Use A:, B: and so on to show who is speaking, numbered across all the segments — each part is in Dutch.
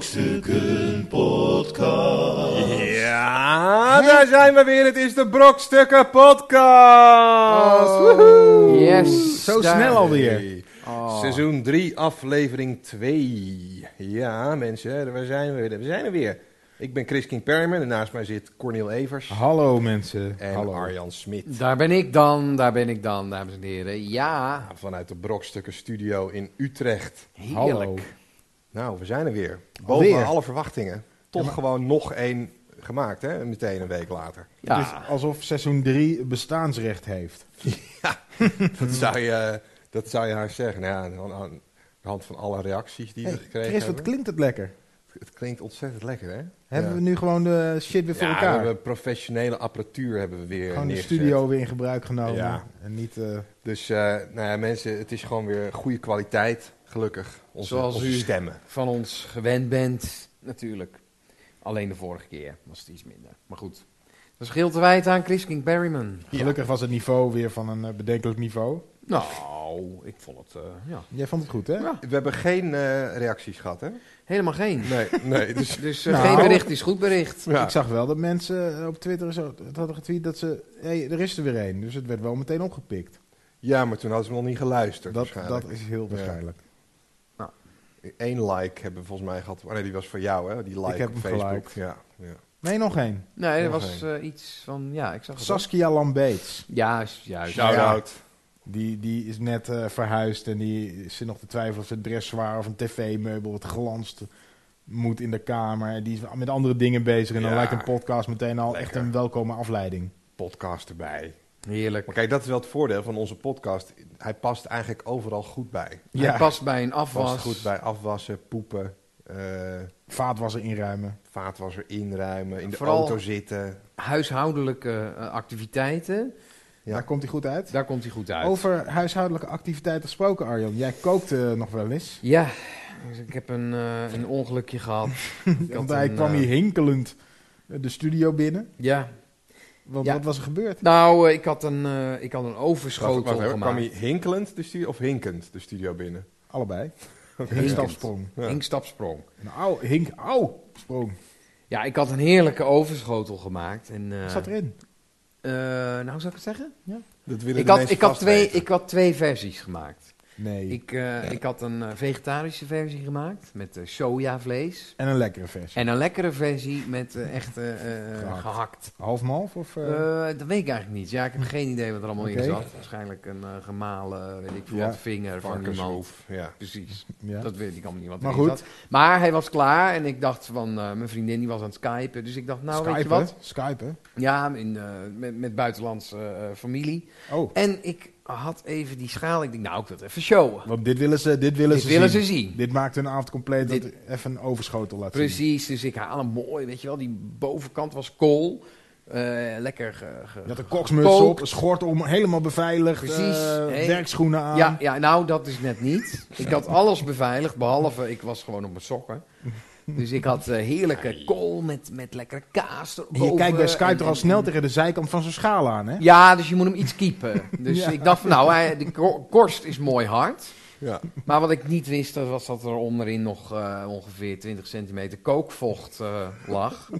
A: Brokstukken Podcast.
B: Ja, daar zijn we weer. Het is de Brokstukken Podcast.
C: Oh.
B: Woehoe.
D: Yes.
C: Zo
D: daar-
C: snel alweer. Oh.
B: Seizoen 3, aflevering 2. Ja, mensen, daar zijn we weer. We zijn er weer. Ik ben Chris King Perman en naast mij zit Cornel Evers
C: Hallo mensen.
B: en
C: Hallo.
B: Arjan Smit.
D: Daar ben ik dan, daar ben ik dan, dames en heren. Ja,
B: Vanuit de Brokstukken Studio in Utrecht.
C: Hallo.
D: heerlijk.
B: Nou, we zijn er weer. Boven
C: Alweer.
B: alle verwachtingen. Toch gewoon nog één gemaakt, hè? Meteen een week later.
D: Ja.
C: Het is alsof seizoen 3 bestaansrecht heeft.
B: Dat
C: Hmm.
B: zou je, eh, dat zou je haar zeggen. Nou ja, aan, aan de hand van alle reacties die we
C: Hey,
B: gekregen
C: Chris, wat
B: hebben.
C: klinkt het lekker.
B: Het klinkt ontzettend lekker, hè?
C: Hebben
B: ja.
C: we nu gewoon de shit weer voor
B: ja,
C: elkaar?
B: we hebben professionele apparatuur hebben we weer
C: gewoon de
B: neergezet.
C: studio weer in gebruik genomen.
B: Ja.
C: En niet... eh,
B: Dus eh, nou ja, mensen, het is gewoon weer goede kwaliteit, gelukkig. Onze,
D: Zoals
B: onze
D: u.
B: stemmen.
D: Van ons gewend bent, natuurlijk. Alleen de vorige keer was het iets minder. Maar goed, dat scheelt te wijd aan Chris King Berryman.
C: gelukkig was het niveau weer van een eh, bedenkelijk niveau.
D: Nou, ik vond het, eh, ja.
C: Jij vond het goed, hè?
D: Ja.
B: We hebben geen eh, reacties gehad, hè?
D: Helemaal geen.
B: Nee, nee. Dus,
D: Dus eh,
C: Nou.
D: geen bericht is goed bericht.
B: ja.
C: Ik zag wel dat mensen eh, op Twitter en zo het hadden getweet dat ze... hey, er is er weer één. Dus het werd wel meteen opgepikt.
B: ja, maar toen hadden ze nog niet geluisterd.
C: Dat,
B: waarschijnlijk.
C: dat is heel waarschijnlijk.
B: Eén like hebben we volgens mij gehad. Oh nee, die was voor jou, hè? Die like
C: Ik heb
B: op
C: hem
B: Facebook.
C: geliked.
B: Ja, ja.
C: Nee, nog één.
D: Nee, er
B: Nog
D: was eh, iets van, ja, ik zag het. ook.
C: Saskia Lambeets.
D: Ja, juist. juist.
B: Shout-out.
C: Die, die is net eh, verhuisd en die zit nog te twijfelen of ze een dressoir of een tv-meubel wat glanst moet in de kamer. En Die is met andere dingen bezig en dan
B: Ja.
C: lijkt een podcast meteen al echt
B: Lekker.
C: een welkome afleiding.
B: Podcast erbij.
D: Heerlijk.
B: Maar kijk, dat is wel het voordeel van onze podcast. Hij past eigenlijk overal goed bij.
D: Ja.
C: Ja,
D: past bij een afwas.
B: Past goed bij afwassen, poepen, eh
C: vaatwasser inruimen.
B: vaatwasser inruimen, in de
D: Vooral-
B: auto zitten.
D: Huishoudelijke eh, activiteiten,
B: Ja.
C: Daar komt hij goed uit.
D: daar komt hij goed uit.
C: Over huishoudelijke activiteiten gesproken, Arjan. Jij kookt eh, nog wel eens.
D: Ja, dus ik heb een, eh, een ongelukje gehad. Ik had
C: Want hij
D: een,
C: kwam
D: eh,
C: hier hinkelend eh, de studio binnen.
D: Ja.
C: Want
D: Ja.
C: wat was er gebeurd?
D: Nou, eh, ik, had een, eh, ik had een
B: Wacht,
D: overschotel
B: wacht even,
D: gemaakt.
B: kwam hij hinkelend de studio, of hinkend de studio binnen?
C: Allebei. Een
D: Hinkend.
C: stapsprong.
B: Ja.
D: Inkstapsprong.
C: Een au, hink, au, sprong.
D: Ja, ik had een heerlijke overschotel gemaakt. En, eh,
C: Wat zat erin?
D: eh, nou, zou ik het zeggen?
B: Dat willen
D: Ik
B: de
D: had,
B: mensen
D: ik, had
B: vast
D: twee,
B: weten.
D: ik had twee versies gemaakt.
C: Nee.
D: Ik, eh, ik had een eh, vegetarische versie gemaakt met eh, sojavlees.
C: En een lekkere versie.
D: En een lekkere versie met eh, echt eh, eh,
C: Gehakt.
D: gehakt.
C: Half-malf of... eh,
D: Eh, dat weet ik eigenlijk niet. Ja, ik heb geen idee wat er allemaal in
C: Oké.
D: zat. Waarschijnlijk een eh, gemalen, weet ik veel
C: Ja,
D: wat, vinger van iemand.
B: Varkenshoef, ja.
D: Precies.
C: ja.
D: Dat weet ik allemaal niet. Wat
C: Maar
D: erin
C: goed.
D: zat. Maar hij was klaar en ik dacht van, eh, mijn vriendin die was aan het skypen. Dus ik dacht, nou weet je
C: Skypen?
D: wat?
C: Skypen?
D: Ja, in, eh, met, met buitenlandse eh, familie.
C: Oh,
D: En ik had even die schaal. Ik dacht, nou ik wil het even showen.
C: want dit willen ze, dit willen
D: Dit
C: ze
D: willen
C: zien.
D: ze zien.
C: Dit maakt hun avond compleet dat
D: Dit-
C: er even een overschotel laat zien.
D: Precies, dus ik haal hem mooi, weet je wel. Die bovenkant was kool. Eh, lekker ge, ge-
C: Je had een koksmuts op,
D: Gekookt.
C: een schort om, helemaal beveiligd,
D: Precies,
C: eh,
D: hey.
C: werkschoenen aan.
D: Ja, ja, nou, dat is net niet. Ik had alles beveiligd, behalve ik was gewoon op mijn sokken. Dus ik had eh, heerlijke kool met, met lekkere kaas
C: En
D: erboven.
C: je kijkt bij
D: en-
C: Skype er al
D: eh, en-
C: snel tegen de zijkant van zo'n schaal aan, hè?
D: Ja, dus je moet hem iets kiepen. Dus
C: Ja.
D: ik dacht van, nou, hij- de ko- korst is mooi hard.
B: ja.
D: Maar wat ik niet wist, dat was dat er onderin nog eh, ongeveer 20 centimeter kookvocht eh, lag.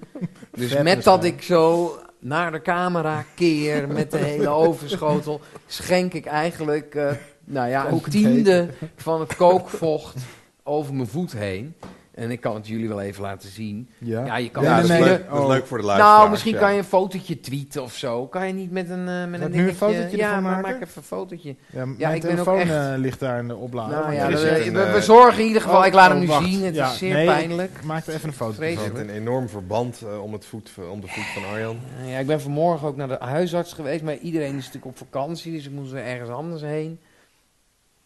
D: Dus
C: Vet
D: met
C: is
D: dat
C: hij.
D: ik zo naar de camera keer met de hele overschotel, schenk ik eigenlijk eh, nou ja, een
C: Kokend
D: tiende van het kookvocht over mijn voet heen. En ik kan het jullie wel even laten zien. Ja, je kan
B: Ja,
C: Ja,
B: dat, is
C: nee,
B: leuk,
C: nee.
B: dat is
C: Oh.
B: leuk voor de luisteraars.
D: Nou, misschien
B: ja.
D: kan je een fotootje tweeten of zo. Kan je niet met een, eh met
C: Zal
D: een
C: ik nu een
D: dingetje-
C: fotootje
D: ja,
C: ervan
D: maar
C: maken?
D: maak even een fotootje.
C: Ja, mijn
D: ik ben ook
C: telefoon
D: echt-
C: eh, ligt daar in de oplader.
D: Nou
C: maar
D: ja,
C: er is
B: Ah, dat-
C: echt
D: we,
B: een,
D: we- we
B: eh,
D: zorgen in ieder geval.
C: Oh,
D: ik laat hem
C: oh,
D: nu
C: wacht.
D: zien. Het
C: Ja,
D: is zeer
C: nee, ik-
D: pijnlijk.
C: Ik maak er even een foto
B: Er zit
C: van.
B: een enorm verband eh, om, het voet, om de voet van Arjan.
D: Eh, Ja, ik ben vanmorgen ook naar de huisarts geweest, maar iedereen is natuurlijk op vakantie, dus ik moest er ergens anders heen.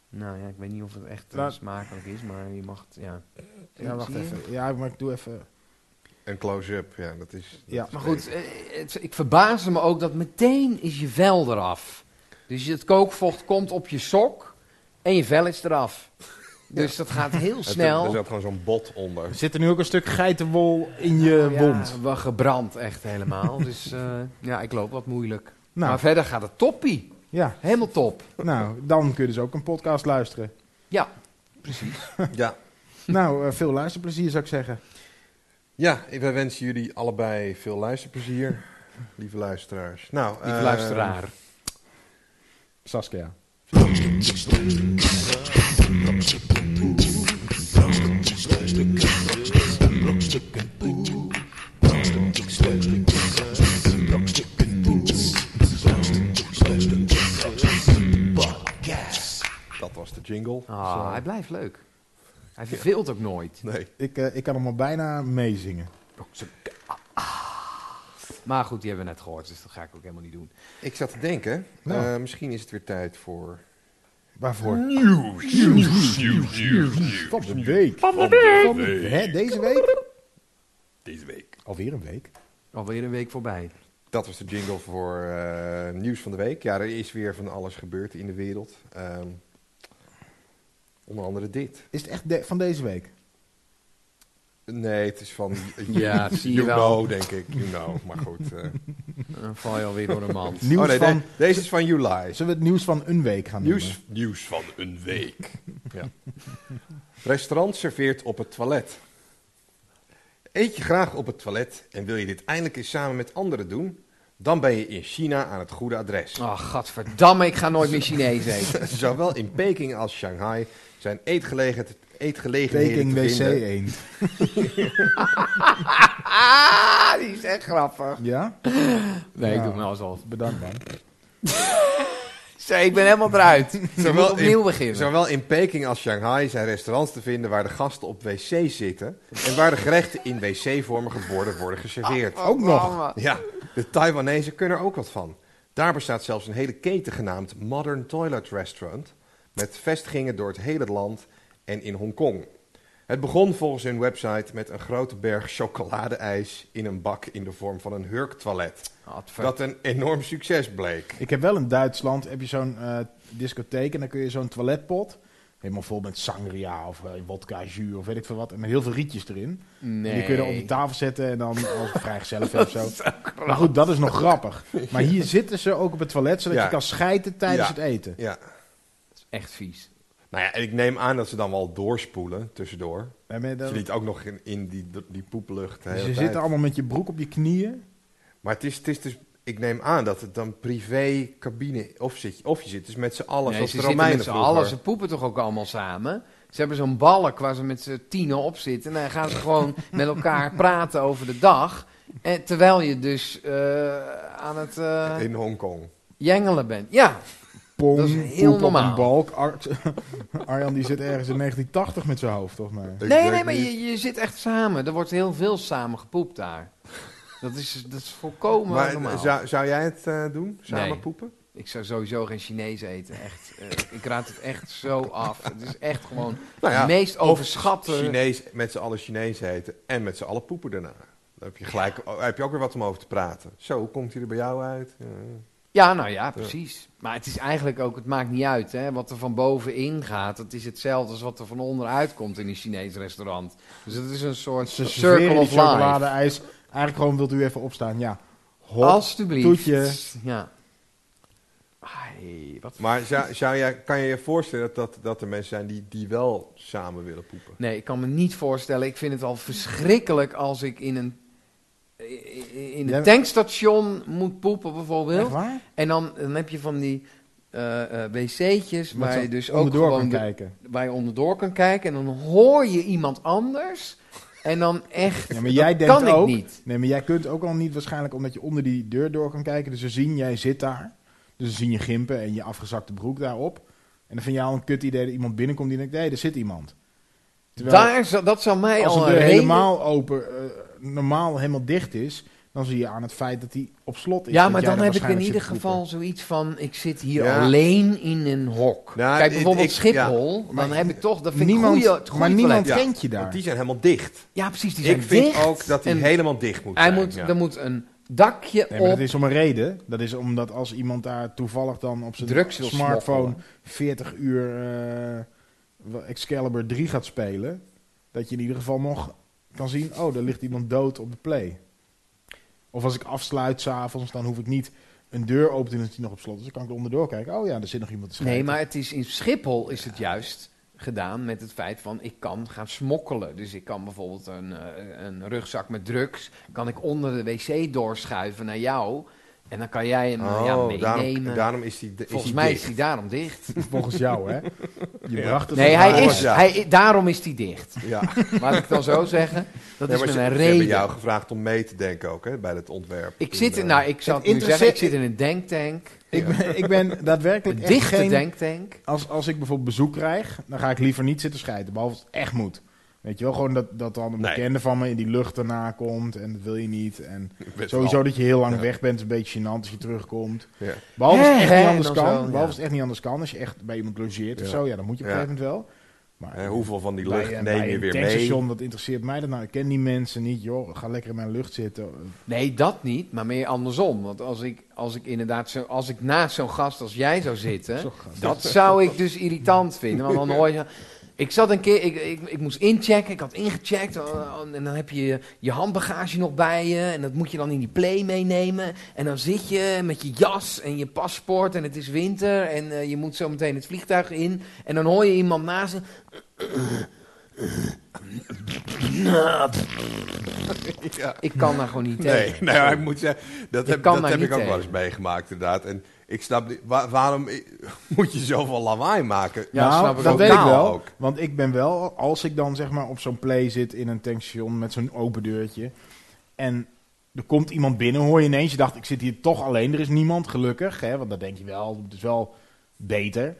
D: Nou ja, ik weet niet of het echt eh,
C: Laat-
D: smakelijk is, maar je mag het, ja.
C: Ja, wacht
D: Zie je?
C: even. Ja, maar ik doe even...
B: Een close-up, ja, dat is...
C: Ja,
D: Maar goed, eh, het- ik verbaasde me ook dat meteen is je vel eraf. Dus het kookvocht komt op je sok en je vel is eraf. Dus dat gaat heel snel.
B: Er zat gewoon zo'n bot onder.
C: Er zit er nu ook een stuk geitenwol in je
D: Oh Ja,
C: Eh, wond.
D: we gebrand echt helemaal. dus eh, ja, ik loop wat moeilijk.
C: Nou,
D: Maar verder gaat het toppie.
C: ja.
D: Helemaal top.
C: nou, dan kun je dus ook een podcast luisteren.
D: Ja, precies.
B: Ja,
C: Nou, eh, veel luisterplezier zou ik zeggen.
B: Ja, ik- wij wensen jullie allebei veel luisterplezier, lieve luisteraars. Nou,
D: Lieve
B: eh,
D: luisteraar.
C: Saskia.
B: Dat was de jingle.
D: Ah, hij blijft leuk. Hij verveelt ook nooit.
B: Nee.
C: Ik, eh, ik kan hem al bijna meezingen.
D: Maar goed, die hebben we net gehoord, dus dat ga ik ook helemaal niet doen.
B: Ik zat te denken,
C: Nou.
B: eh, misschien is het weer tijd voor
C: Waarvoor? Nieuws, nieuws, nieuws, nieuws. Van de week. Van de week. Hè, deze week?
B: deze week.
C: Alweer een week.
D: Alweer een week voorbij.
B: Dat was de jingle voor eh, nieuws van de week. Ja, er is weer van alles gebeurd in de wereld. Ehm, onder andere dit.
C: Is het echt de- van deze week?
B: Nee, het is van
D: Ja, zie je
B: you
D: wel.
B: know, denk ik. You know, maar goed. eh.
D: Dan val je alweer door de mand.
C: Nieuws
B: oh, nee,
C: van...
B: de- deze is van July.
C: Zullen we het nieuws van een week gaan noemen?
B: Nieuws, nieuws van een week. ja. Restaurant serveert op het toilet. Eet je graag op het toilet en wil je dit eindelijk eens samen met anderen doen? Dan ben je in China aan het goede adres.
D: Oh, gadverdamme, ik ga nooit meer Chinees eten.
B: Zowel in Peking als Shanghai zijn eetgelegen- eetgelegenheden
C: Peking
B: te
C: WC
B: vinden.
C: 1.
D: Ah, die is echt grappig.
C: Ja?
D: Nee, ik
C: Ja.
D: doe me alsof.
C: Bedankt man.
D: Zee, ik ben helemaal eruit. Ik moet
B: Zowel
D: opnieuw
B: in,
D: beginnen.
B: zowel in Peking als Shanghai zijn restaurants te vinden waar de gasten op wc zitten en waar de gerechten in wc-vormige borden worden geserveerd.
C: Ook nog.
D: Mama.
B: Ja, de Taiwanese kunnen er ook wat van. Daar bestaat zelfs een hele keten genaamd Modern Toilet Restaurant, met vestigingen door het hele land en in Hongkong. Het begon volgens hun website met een grote berg chocoladeijs in een bak in de vorm van een hurktoilet.
D: Gadver-
B: Dat een enorm succes bleek.
C: Ik heb wel in Duitsland heb je zo'n eh, discotheek en dan kun je zo'n toiletpot. Helemaal vol met sangria of eh, wodka jus of weet ik veel wat. En met heel veel rietjes erin.
D: Nee.
C: En die kun je dan op de tafel zetten en dan als vrijgezellig of zo. Maar goed, dat is nog grappig. Maar hier zitten ze ook op het toilet, zodat
B: Ja.
C: je kan schijten tijdens
B: Ja.
C: het eten.
B: Ja.
D: Echt vies.
B: Nou ja, en ik neem aan dat ze dan wel doorspoelen tussendoor.
C: En ben je dan-
B: Ze liet ook nog in, in die, die poeplucht. de
C: dus
B: hele
C: je
B: tijd.
C: zit allemaal met je broek op je knieën.
B: Maar het is, het is dus, ik neem aan dat het dan privé cabine of, zit, je- of je zit dus met z'n allen
D: nee,
B: zoals
D: ze
B: de
D: zitten
B: Romeinen
D: met z'n
B: vroeger.
D: allen, ze poepen toch ook allemaal samen? Ze hebben zo'n balk waar ze met z'n tienen op zitten. En dan gaan ze gewoon met elkaar praten over de dag. En terwijl je dus eh, aan het eh,
B: In Hongkong.
D: jengelen bent. Ja,
C: Pong,
D: Dat is heel
C: poep op
D: normaal.
C: een balk. Ar- Arjan die zit ergens in 1980 met zijn hoofd, toch maar.
B: Ik
D: nee,
B: weet
D: nee, maar
B: niet.
D: je, je zit echt samen. Er wordt heel veel samen gepoept daar. Dat is, dat is volkomen
B: Maar,
D: normaal.
B: zou, zou jij het eh, doen? Samen
D: Nee.
B: poepen?
D: Ik zou sowieso geen Chinees eten. Echt, eh, ik raad het echt zo af. Het is echt gewoon
B: Nou ja,
D: het meest
B: of
D: overschatte...
B: Chinees, eh, met z'n allen Chinees eten en met z'n allen poepen daarna. Dan heb je, gelijk, oh, heb je ook weer wat om over te praten. Zo, hoe komt hij er bij jou uit? Ja.
D: Ja, nou ja, precies. Maar het is eigenlijk ook, het maakt niet uit. Hè. Wat er van bovenin gaat, dat is hetzelfde als wat er van onderuit komt in een Chinees restaurant. Dus het is een soort
C: Ze
D: circle
C: serveren
D: of
C: die
D: life.
C: chocoladeijs. Eigenlijk gewoon wilt u even opstaan, ja. Hop.
D: Alsjeblieft.
C: toetje.
D: Ja. Ai, wat...
B: Maar zou, zou jij, kan je je voorstellen dat, dat, dat er mensen zijn die, die wel samen willen poepen?
D: Nee, ik kan me niet voorstellen. Ik vind het al verschrikkelijk als ik in een, in een
C: Ja.
D: tankstation moet poepen bijvoorbeeld.
C: Echt waar?
D: En dan, dan heb je van die eh, eh, wc'tjes
C: Met
D: waar je
C: zo'n
D: dus ook
C: onderdoor
D: gewoon
C: kan
D: de-
C: kijken.
D: waar je onderdoor kan kijken. En dan hoor je iemand anders. En dan echt,
C: Ja, maar jij
D: dat
C: denkt
D: kan ik
C: ook-
D: niet.
C: Nee, maar jij kunt ook al niet waarschijnlijk omdat je onder die deur door kan kijken. Dus ze zien, jij zit daar. Dus ze zien je gimpen en je afgezakte broek daarop. En dan vind je al een kut idee dat iemand binnenkomt die denkt, nee, er zit iemand.
D: Daar, zou- dat zou mij
C: als
D: al
C: de
D: een
C: deur
D: reden-
C: helemaal open, eh, normaal helemaal dicht is, dan zie je aan het feit dat die op slot is.
D: Ja,
C: dat
D: maar
C: jij
D: dan heb ik in
C: waarschijnlijk
D: ieder
C: zit te
D: geval zoiets van, ik zit hier
B: Ja.
D: alleen in een hok.
B: Nou,
D: Kijk,
B: ik-
D: bijvoorbeeld
B: ik-
D: Schiphol,
C: Maar
D: dan heb ik toch, dat
C: poepen.
D: vind
C: niemand,
D: ik goeie, het goede
C: Maar niemand
D: toilet.
B: Ja,
C: kent je
B: Want
C: daar.
B: die zijn helemaal dicht.
D: Ja, precies, die zijn
B: Ik vind
D: dicht.
B: ook dat die
D: En
B: helemaal dicht moet
D: hij
B: zijn.
D: moet,
B: ja.
D: Er moet een dakje
C: Nee, maar
D: op.
C: dat is om een reden. Dat is omdat als iemand daar toevallig dan op zijn
D: Drugs wil
C: smartphone
D: smokkelen.
C: 40 uur eh, wel Excalibur 3 gaat spelen, dat je in ieder geval nog kan zien, oh, daar ligt iemand dood op de play. Of als ik afsluit s'avonens, dan hoef ik niet een deur open te doen als die nog op slot is. Dan kan ik er onderdoor kijken. Oh ja, er zit nog iemand te
D: Nee,
C: schijten.
D: maar het is in Schiphol is het juist gedaan met het feit van ik kan gaan smokkelen. Dus ik kan bijvoorbeeld een, eh, een rugzak met drugs, kan ik onder de wc doorschuiven naar jou. En dan kan jij hem eh, ja, meenemen.
B: Oh, daarom, daarom is hij is
D: Volgens
B: hij
D: mij
B: dicht.
D: is hij daarom dicht.
C: Volgens jou, hè? Je bracht het
D: Nee,
C: op
D: hij
C: haar.
D: is,
B: Ja.
D: hij, i- daarom is hij dicht.
B: Ja.
D: Laat ik het dan zo zeggen. Dat
B: Ja, maar
D: is met
B: ze,
D: een
B: ze hebben jou
D: reden.
B: gevraagd om mee te denken ook hè, bij het ontwerp.
D: Ik zit
B: in. eh,
D: in, nou, ik zou
C: het
D: het nu zeggen, ik
C: interesseert-
D: zit in een denktank.
C: Ik ben, ik ben daadwerkelijk
D: Een
C: echt
D: dichte
C: geen...
D: denktank.
C: Als, als ik bijvoorbeeld bezoek krijg, dan ga ik liever niet zitten scheiden. Behalve als het echt moet. Weet je wel, gewoon dat, dat dan een
B: Nee.
C: bekende van me in die lucht daarna komt. En dat wil je niet. En
B: Best
C: sowieso
B: wel.
C: dat je heel lang
B: Ja.
C: weg bent, is een beetje gênant als je terugkomt.
B: Ja.
C: Behalve als
D: Hè,
C: het echt
D: hè,
C: niet anders
D: en
C: kan.
D: dan zo,
C: behalve
D: ja.
C: als het echt niet anders kan. Als je echt bij iemand logeert of
B: Ja.
C: zo, ja, dan moet je op een
B: Ja.
C: gegeven moment wel. Maar
B: Hè, hoeveel van die
C: bij
B: lucht
C: een- bij
B: neem je
C: een
B: weer mee?
C: tankstation, dat interesseert mij dan nou. Ik ken die mensen niet, joh. Ga lekker in mijn lucht zitten.
D: Nee, dat niet, maar meer andersom. Want als ik, als ik inderdaad zo, als ik naast zo'n gast als jij zou zitten,
C: Zo gast.
D: dat zou ik dus irritant vinden. Want dan hoor je. Ik zat een keer, ik, ik, ik moest inchecken, ik had ingecheckt. eh, En dan heb je je handbagage nog bij je. En dat moet je dan in die play meenemen. En dan zit je met je jas en je paspoort. En het is winter. En eh, je moet zo meteen het vliegtuig in. En dan hoor je iemand naast. je,
B: Ja.
D: Ik kan daar gewoon niet tegen.
B: Nee, nee, maar ik moet zeggen, dat
D: Je
B: heb,
D: kan
B: dat
D: daar
B: heb
D: niet
B: ik ook wel eens
D: tegen.
B: meegemaakt inderdaad. En ik snap niet, wa- waarom i- moet je zoveel lawaai maken?
D: Ja,
C: nou,
D: snap ik
C: dat
D: ook.
C: weet ik
B: Lokaal
C: wel.
B: ook.
C: Want ik ben wel, als ik dan zeg maar op zo'n play zit in een tankstation met zo'n open deurtje. En er komt iemand binnen, hoor je ineens. Je dacht, ik zit hier toch alleen. Er is niemand, gelukkig. Hè, want dan denk je wel, het is wel beter.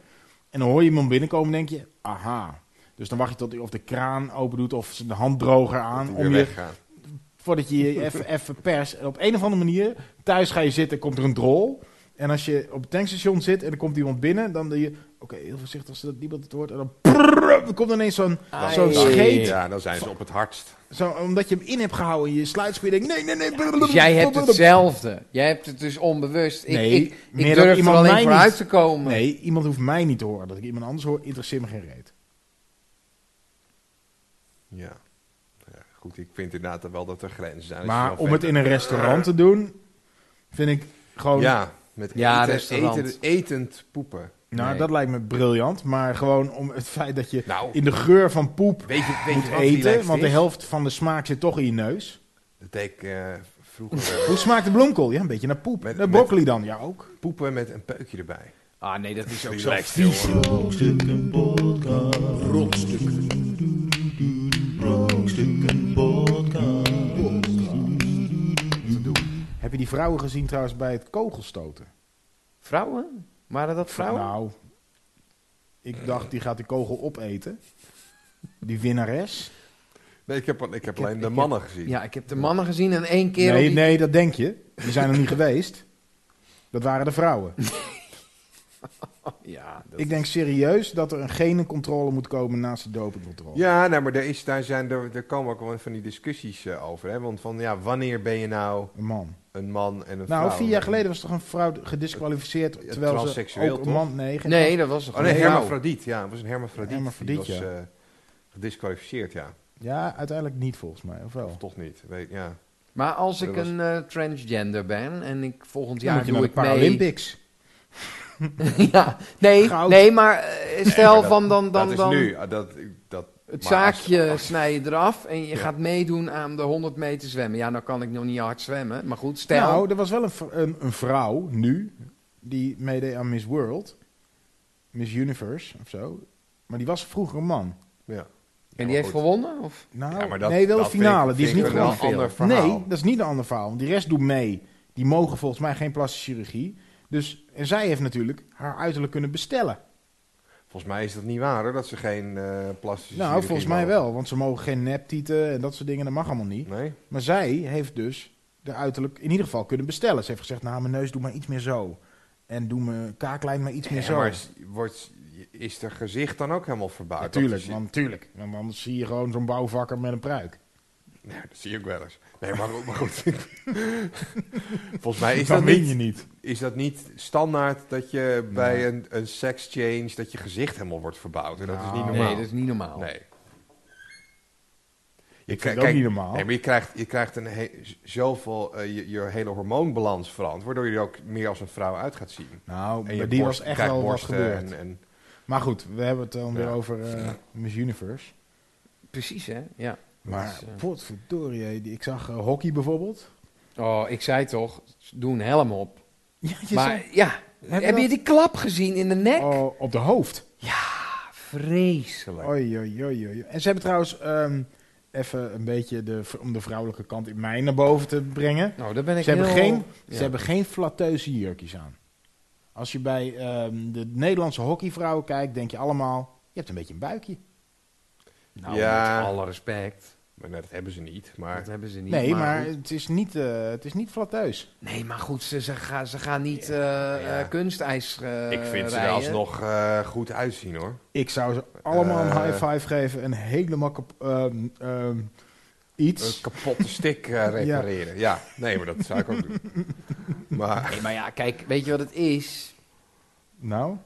C: En dan hoor je iemand binnenkomen denk je, aha. Dus dan wacht je tot hij of de kraan open doet of de handdroger aan.
B: Weer
C: Om je,
B: weggaan.
C: voordat je je even, even pers. En op een of andere manier, thuis ga je zitten, komt er een drol. En als je op het tankstation zit en er komt iemand binnen, dan doe je... Oké, heel voorzichtig, als dat niemand het hoort. En dan, prrrr, dan komt ineens zo'n...
D: Ai.
C: Zo'n scheet.
B: Ja, dan zijn ze op het hardst.
C: Zo, omdat je hem in hebt gehouden in je sluitspier. Denk, nee, nee, nee.
D: Dus jij hebt hetzelfde. Jij hebt het dus onbewust. Ik,
C: Nee,
D: ik,
C: meer
D: ik
C: dat
D: durf er
C: iemand mij
D: alleen voor
C: niet-
D: uit te komen.
C: Nee, iemand hoeft mij niet te horen. Dat ik iemand anders hoor, interesseert me geen reet.
B: Ja. Ja, Goed, ik vind inderdaad wel dat er grenzen zijn. Als je
C: Maar
B: dan
C: om
B: verder-
C: het in een restaurant te doen, vind ik gewoon...
B: Ja, met
D: Ja,
B: eten,
D: restaurant.
B: eten, etend poepen.
C: Nou,
D: Nee.
C: dat lijkt me briljant. Maar gewoon om het feit dat je
B: Nou.
C: in de geur van poep
B: Weet je, weet
C: moet
B: je wat
C: eten,
B: relaxed
C: want de
B: is?
C: helft van de smaak zit toch in je neus.
B: Dat deed ik eh, vroeger.
C: Hoe smaakt de bloemkool? Ja, een beetje naar poep.
B: Met-
C: naar
B: met-
C: broccoli dan, ja ook.
B: poepen met een peukje erbij.
D: Ah nee, dat is ook zo
B: Relaxed,
D: vies.
B: jongen.
A: Brokstukken podcast. Brokstukken podcast.
C: Heb je die vrouwen gezien trouwens bij het kogelstoten?
D: Vrouwen? Waren dat vrouwen?
C: Nou, ik dacht die gaat die kogel opeten. Die winnares.
B: Nee, ik heb, ik heb alleen
D: ik
B: de
D: heb-
B: mannen gezien.
D: ja, ik heb de mannen gezien en één keer...
C: Nee,
D: op die-
C: nee, dat denk je. Die zijn er niet geweest. Dat waren de vrouwen.
D: Ja, dat-
C: Ik denk serieus dat er een genencontrole moet komen naast de dopingcontrole.
B: Ja, nou, maar daar, is, daar, zijn, daar, daar komen ook wel van die discussies eh, over. Hè? Want van ja, wanneer ben je nou
C: Een man.
B: een man en een vrouw?
C: Nou, vier jaar geleden was toch een vrouw gedisqualificeerd
B: Ja,
C: terwijl ze
B: transseksueel,
C: ook een
B: toch?
C: man nee, geen
D: nee, dat was toch
B: Oh nee,
D: een vrouw?
B: hermafrodiet. Ja, het was een hermafrodiet. Die
C: Hermafrodiet,
B: was
C: ja.
B: eh, gedisqualificeerd, ja.
C: Ja, uiteindelijk niet volgens mij, of
B: Of
C: wel?
B: toch niet. Weet, ja.
D: Maar als ik
B: Dat was-
D: een eh, transgender ben en ik volgend
C: Dan
D: jaar
C: moet je
D: doe
C: naar de
D: ik mee...
C: Paralympics.
D: ja, nee,
C: Goud.
D: nee, maar eh, stel
B: Nee, maar
D: van dan... dan,
B: dat
D: dan
B: is nu. ah, Dat, ik- dat,
D: Het
B: maar als-
D: zaakje snij je eraf en je
B: Ja.
D: gaat meedoen aan de 100 meter zwemmen. Ja, nou kan ik nog niet hard zwemmen. Maar goed, stel...
C: Nou, er was wel een, v- een, een vrouw nu die meedeed aan Miss World, Miss Universe of zo. Maar die was vroeger een man.
B: ja.
D: en
B: maar
D: die heeft
B: goed.
D: gewonnen? Of?
C: Nou,
B: Ja, maar dat-
C: nee, wel de
B: dat
C: finale.
B: vind ik-
C: die is
B: vind
C: niet
B: ik wel
C: gewonnen.
B: een ander verhaal.
C: Nee, dat is niet een ander verhaal. Want die rest doet mee. Die mogen volgens mij geen plastische chirurgie. Dus, en zij heeft natuurlijk haar uiterlijk kunnen bestellen.
B: Volgens mij is dat niet waar, hoor. Dat ze geen eh plastische
C: Nou,
B: chirurgie
C: volgens mij
B: mogen.
C: wel. Want ze mogen geen neptieten en dat soort dingen. Dat mag allemaal niet.
B: Nee?
C: Maar zij heeft dus de uiterlijk in ieder geval kunnen bestellen. Ze heeft gezegd, nou, mijn neus doe maar iets meer zo. En doe mijn kaaklijn maar iets meer
B: Ja,
C: zo.
B: maar is, wordt, is er gezicht dan ook helemaal verbouwd?
C: Natuurlijk,
B: Dat is-
C: want, natuurlijk. Want anders zie je gewoon zo'n bouwvakker met een pruik.
B: Ja, dat zie ik wel eens. Nee, maar, goed- maar goed. Volgens mij is
C: Dan
B: dat,
C: win
B: niet,
C: je niet.
B: is dat niet standaard dat je bij een, een sex-change... dat je gezicht helemaal wordt verbouwd. En dat is niet
C: Nou,
B: normaal.
D: Nee, dat is niet normaal.
B: Nee. Je
C: vind het ook
B: kijk,
C: niet normaal.
B: Nee, maar je krijgt, je krijgt een he- z- zoveel, eh, je, je hele hormoonbalans verandert... waardoor je er ook meer als een vrouw uit gaat zien.
C: Nou,
B: En je
C: maar die
B: borst-
C: was echt
B: krijgt
C: wel wat
B: borsten
C: gebeurd.
B: En, en,
C: Maar goed, we hebben het dan
B: Ja.
C: weer over eh Miss Universe.
D: Precies, hè? Ja.
C: Maar
D: Dus, eh,
C: potverdorie, hé, die- ik zag eh, hockey bijvoorbeeld.
D: Oh, ik zei toch, doe een helm op.
C: Ja,
D: maar ja,
C: je
D: heb, je
C: dat-
D: die klap gezien in de nek? Ah,
C: oh, op de hoofd.
D: Vreselijk.
C: Oei, oei, oei, oei. En ze hebben trouwens ehm, even een beetje de, om de vrouwelijke kant in mij naar boven te brengen.
D: Nou, daar ben ik
C: Ze hebben,
D: heel...
C: geen,
D: Ja.
C: ze hebben geen flatteuze jurkjes aan. Als je bij ehm, de Nederlandse hockeyvrouwen kijkt, denk je allemaal, je hebt een beetje een buikje.
D: Nou,
B: Ja.
D: met alle respect.
B: Maar nee, dat hebben ze niet.
D: Dat
B: Maar
D: hebben ze niet.
C: Nee, maar
D: goed.
C: het is niet, eh, het is niet flatteus.
D: Nee, maar goed, ze, ze, gaan, ze gaan niet eh
B: Ja.
D: eh, kunstijs eh,
B: ik vind ze er
D: rijden.
B: alsnog eh, goed uitzien hoor.
C: Ik zou ze allemaal een
B: Eh.
C: high five geven en helemaal kap- ehm, ehm,
B: Een
C: iets.
B: kapotte stick eh, repareren. Ja. nee, maar dat zou ik ook doen. Maar
D: Nee, maar ja, kijk, weet je wat het is?
C: Nou,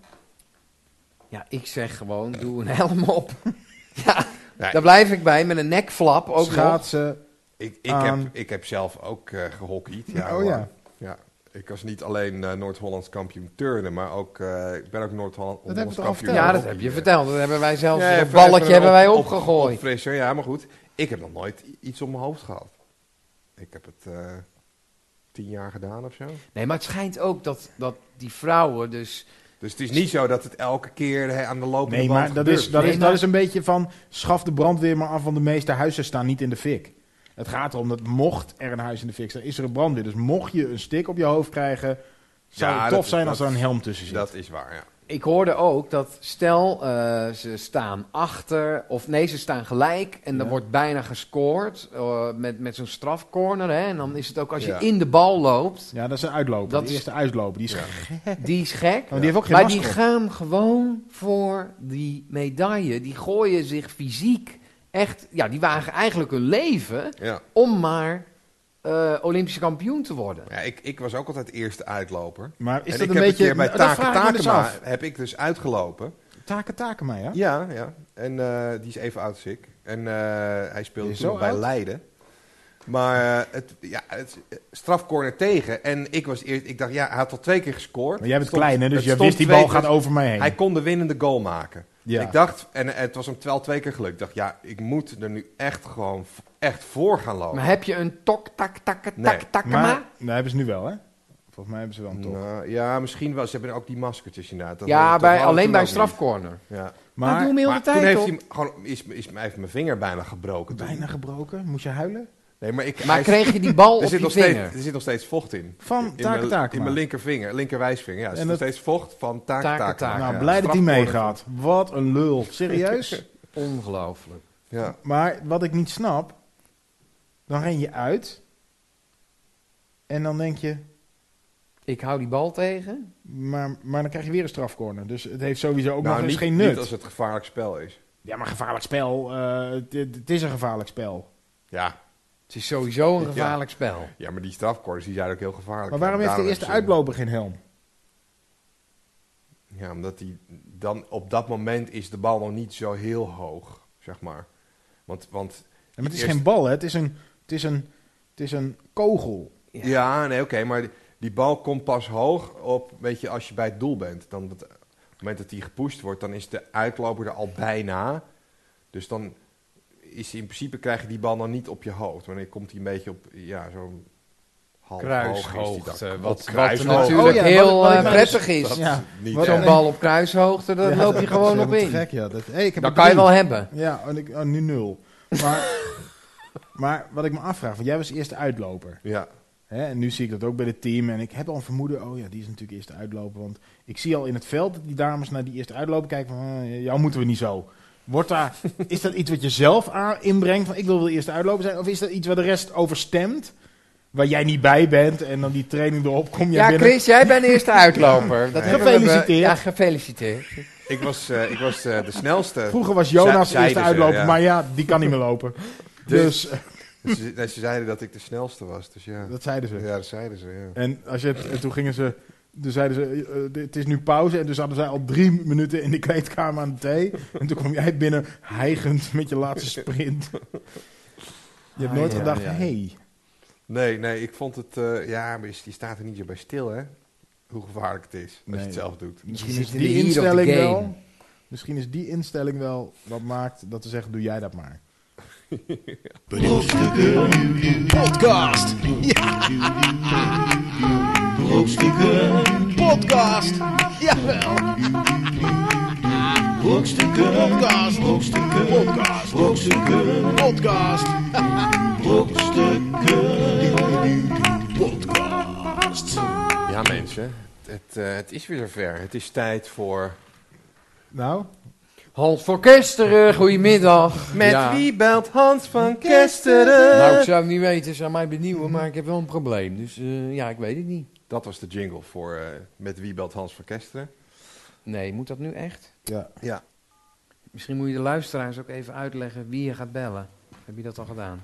D: Ja, ik zeg gewoon, doe een helm op. ja,
B: Nee.
D: daar blijf ik bij, met een nekflap ook nog.
C: schaatsen.
B: ik, ik,
C: Aan.
B: heb, ik heb zelf ook eh gehockeyd. Ja,
C: Ehm. oh
B: hoor.
C: ja,
B: Ja, ik was niet alleen eh, Noord-Hollands kampioen turnen, maar ook, eh, ik ben ook Noord-Hollands
C: Dat heb
B: Hollands
C: je toch al
B: kampioen.
C: verteld?
D: Ja, dat
B: hockey,
D: heb je
B: eh.
D: verteld. Dat hebben wij zelfs,
B: Ja,
D: dat
B: even-
D: balletje
B: even
D: hebben
B: een
D: wij
B: op-
D: opgegooid.
B: Op, opfrisser, ja, maar goed. Ik heb nog nooit i- iets op mijn hoofd gehad. Ik heb het eh, tien jaar gedaan of zo.
D: Nee, maar het schijnt ook dat, dat die vrouwen dus...
B: Dus het is niet zo dat het elke keer hè, aan de lopende
C: nee,
B: band
C: maar dat
B: gebeurt.
C: is, dat,
D: Nee,
C: is,
D: maar-
C: dat is een beetje van, schaf de brandweer maar af, want de meeste huizen staan niet in de fik. Het gaat erom dat mocht er een huis in de fik staan, is er een brandweer. Dus mocht je een stik op je hoofd krijgen, zou
B: Ja,
C: het
B: dat
C: tof
B: is-
C: zijn
B: dat
C: als er een
B: is-
C: helm tussen zit.
B: Dat is waar, ja.
D: Ik hoorde ook dat stel eh, ze staan achter, of nee, ze staan gelijk en dan
C: Ja.
D: wordt bijna gescoord eh, met, met zo'n strafcorner. Hè, en dan is het ook als je
B: Ja.
D: in de bal loopt,
C: Ja, dat is een uitloper.
D: Dat
C: de
D: is-
C: eerste uitloper. Die is
B: Ja.
C: gek.
D: die is gek.
C: Want die heeft ook geen
D: Maar
C: masker
D: die
C: op.
D: gaan gewoon voor die medaille. Die gooien zich fysiek echt, ja, die wagen eigenlijk hun leven
B: ja.
D: om maar eh Olympische kampioen te worden.
B: ja ik, ik was ook altijd eerste uitloper.
C: Maar is
B: en
C: dat
B: ik
C: een
B: heb
C: beetje...
B: een keer bij
C: Nou, dat
B: Taken
C: vraag ik me dus
B: Takema
C: af.
B: heb ik dus uitgelopen.
C: Taken Takema, ja?
B: Ja, ja. En eh, die is even oud als ik. En eh, hij speelde
C: Is
B: toen
C: zo
B: bij
C: oud?
B: Leiden. Maar eh, het, ja, het, eh, strafcorner tegen. En ik was eerst, ik dacht, ja, hij had al twee keer gescoord.
C: Maar jij bent
B: Stond-
C: klein, hè? Dus
B: het
C: jij
B: stond
C: wist die bal
B: twee-
C: gaat
B: dus
C: over mij heen.
B: Hij kon de winnende goal maken.
C: Ja.
B: Ik dacht, en eh, het was hem wel twee keer gelukt. Ik dacht, ja, ik moet er nu echt gewoon v- echt voor gaan lopen.
D: Maar heb je een tok, tak, tak, tak,
B: Nee,
D: tak,
C: maar... Nou, hebben ze nu wel, hè? Volgens mij hebben ze wel een top.
B: Nou, ja, misschien wel. Ze hebben ook die maskertjes inderdaad. Dat
D: Ja,
B: dat
D: bij,
B: hadden we
D: alleen
B: toen
D: bij
B: ook
D: een strafcorner.
B: niet. Ja.
D: Maar doe hem heel de
B: Maar toen
D: tijd
B: heeft
D: op.
B: hij hem gewoon, is, is, hij heeft mijn vinger bijna gebroken. toen.
C: Bijna gebroken. Moest je huilen?
B: Nee, maar ik,
D: Maar
B: hij-
D: kreeg je die bal
B: Er
D: op
B: zit,
D: je
B: nog steeds,
D: vinger?
B: er zit nog steeds vocht in.
C: Van
B: in
C: Taken
B: mijn-
C: Takema.
B: In mijn linkervinger, linkerwijsvinger. Ja, er
C: En
B: zit nog
C: dat-
B: steeds vocht van taken
D: Taken
B: taken.
D: Takema.
C: nou,
B: ja.
C: blij dat hij
B: Strafcorner.
C: meegaat. Wat een lul. Serieus?
D: Ongelooflijk.
B: Ja.
C: maar wat ik niet snap... Dan ren je uit. En dan denk je...
D: Ik hou die bal tegen.
C: Maar, maar dan krijg je weer een strafcorner. Dus het heeft sowieso ook
B: nou,
C: nog eens
B: niet,
C: geen nut.
B: niet als het gevaarlijk spel is.
C: Ja, maar gevaarlijk spel. eh, het- het het is een gevaarlijk spel.
B: Ja,
D: Het is sowieso een
B: Ja.
D: gevaarlijk spel.
B: ja maar die strafcorners die zijn ook heel gevaarlijk.
C: Maar waarom
B: En
C: heeft de
B: daarom
C: eerste
B: hebben ze-
C: uitloper geen helm?
B: Ja, omdat die dan op dat moment is de bal nog niet zo heel hoog, zeg maar. Want, want
C: Ja, maar het is
B: Eerst-
C: geen bal, hè? Het is een, het is een, het is een kogel.
D: Ja.
B: ja. nee, oké, maar die, die bal komt pas hoog op, weet je, als je bij het doel bent. Dan dat, op het moment dat die gepusht wordt, dan is de uitloper er al bijna. Dus dan is in principe krijg je die bal dan niet op je hoofd. Wanneer komt die een beetje op, ja, zo'n half hoog is die
D: Kruishoogte.
B: dan.
D: Wat,
B: Op
D: wat
B: kruishoogte.
D: natuurlijk
C: Oh ja, wat-
D: heel
C: wat ik
D: eh,
C: nou dus-
D: prettig is.
C: ja,
B: Niet
C: Wat
B: echt.
D: Zo'n bal op kruishoogte, daar
C: Ja,
D: loop je gewoon
C: dat
D: op
C: is
D: in.
C: helemaal te Gek, ja. Dat, hey, ik heb
D: Dat
C: er
D: kan je
C: drie.
D: wel hebben.
C: Ja, en ik, oh, nu nul. Maar, maar wat ik me afvraag, want jij was eerste uitloper.
B: Ja,
C: Hè? En nu zie ik dat ook bij het team. En ik heb al een vermoeden, oh ja, die is natuurlijk eerste uitloper. Want ik zie al in het veld dat die dames naar die eerste uitloper kijken van, eh, jou moeten we niet zo. Wordt daar, is dat iets wat je zelf aan, inbrengt, van ik wil wel de eerste uitloper zijn? Of is dat iets waar de rest over stemt? Waar jij niet bij bent en dan die training erop kom jij
D: Ja,
C: binnen?
D: Chris, jij bent de eerste uitloper. Dat
B: Nee.
D: hebben we-
C: Gefeliciteerd.
D: Ja, gefeliciteerd.
B: ik was, eh, ik was eh, de snelste.
C: Vroeger was Jonas
B: Zij-
C: eerste
B: zeiden ze,
C: uitloper,
B: ja.
C: maar ja, die kan niet meer lopen. Dus,
B: Dus- Ze, nee, ze zeiden dat ik de snelste was, dus ja.
C: dat zeiden ze.
B: Ja, dat zeiden ze, ja.
C: En, als je, en toen gingen ze, toen zeiden ze, eh, eh, dit- het is nu pauze. En dus hadden zij al drie minuten in de kleedkamer aan de thee. En toen kwam jij binnen, hijgend met je laatste sprint. Je hebt
D: Ah,
C: nooit
D: ja,
C: gedacht,
D: ja.
C: hey.
B: Nee, nee, ik vond het... eh, ja, maar die staat er niet zo bij stil, hè? Hoe gevaarlijk het is als
C: Nee.
B: je het zelf doet.
C: Misschien
D: zit
C: is
D: in
C: die
D: de heat of the
C: instelling
D: game.
C: wel. Misschien is die instelling wel wat maakt dat ze zeggen, doe jij dat maar.
A: Brokstukken.
E: Podcast.
A: eh, Brokstukken.
E: Podcast. Jawel.
A: eh, Brokstukken.
E: Podcast.
A: eh, Brokstukken.
E: Podcast.
A: Brokstukken.
E: Podcast.
A: eh, Brokstukken.
E: Podcast.
B: Ja, mensen. Het, eh, het is weer zover. Het is tijd voor...
C: Nou,
D: Hans van Kesteren, goedemiddag.
B: Met
D: Ja.
B: wie eh? belt Hans van Kesteren?
D: Nou, ik zou het niet weten, ze aan mij benieuwen, maar ik heb wel een probleem. Dus eh, ja, ik weet het niet.
B: Dat was de jingle voor eh, Met wie belt Hans van Kesteren.
D: Nee, moet dat nu echt?
C: ja.
B: Ja.
D: Misschien moet je de luisteraars ook even uitleggen wie je gaat bellen. Heb je dat al gedaan?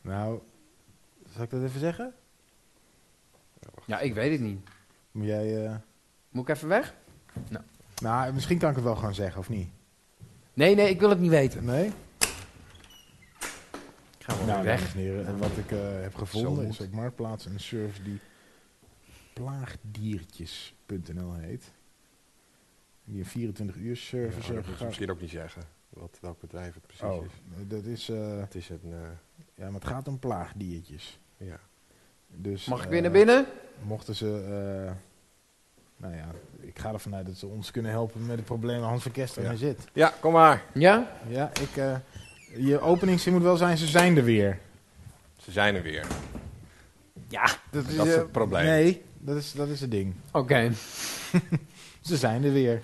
C: Nou, zal ik dat even zeggen?
D: Ja, ik weet het niet.
C: Moet jij... eh,
D: Moet ik even weg?
C: Nou, misschien kan ik het wel gewoon zeggen, of niet?
D: Nee, nee, ik wil het niet weten.
C: Nee?
D: Ik ga wel
C: Nou,
D: weg.
C: dames en heren, en wat ik eh, heb
D: Zo
C: gevonden
D: moet.
C: is op Marktplaats een service die plaagdiertjes.nl heet. Die een 24 uur
B: Ja, oh,
C: service
B: dat
C: heeft
B: moet je misschien ook niet zeggen. Wat, welk bedrijf het precies
C: Oh,
B: is.
C: dat is... eh,
B: Het is een... eh,
C: ja, maar het gaat om plaagdiertjes.
B: ja.
C: Dus,
D: Mag ik
C: eh,
D: weer naar binnen?
C: Mochten ze... eh, nou ja, ik ga ervan uit dat ze ons kunnen helpen met het probleem waar Hans van Kester
B: Ja.
C: mee zit.
B: ja, kom maar.
D: Ja?
C: Ja, ik... eh, je openingszin moet wel zijn, ze zijn er weer.
B: Ze zijn er weer.
C: Dat
B: is
C: eh,
B: het probleem.
C: Nee, dat is, dat is het ding.
D: Oké.
C: Ze zijn er weer.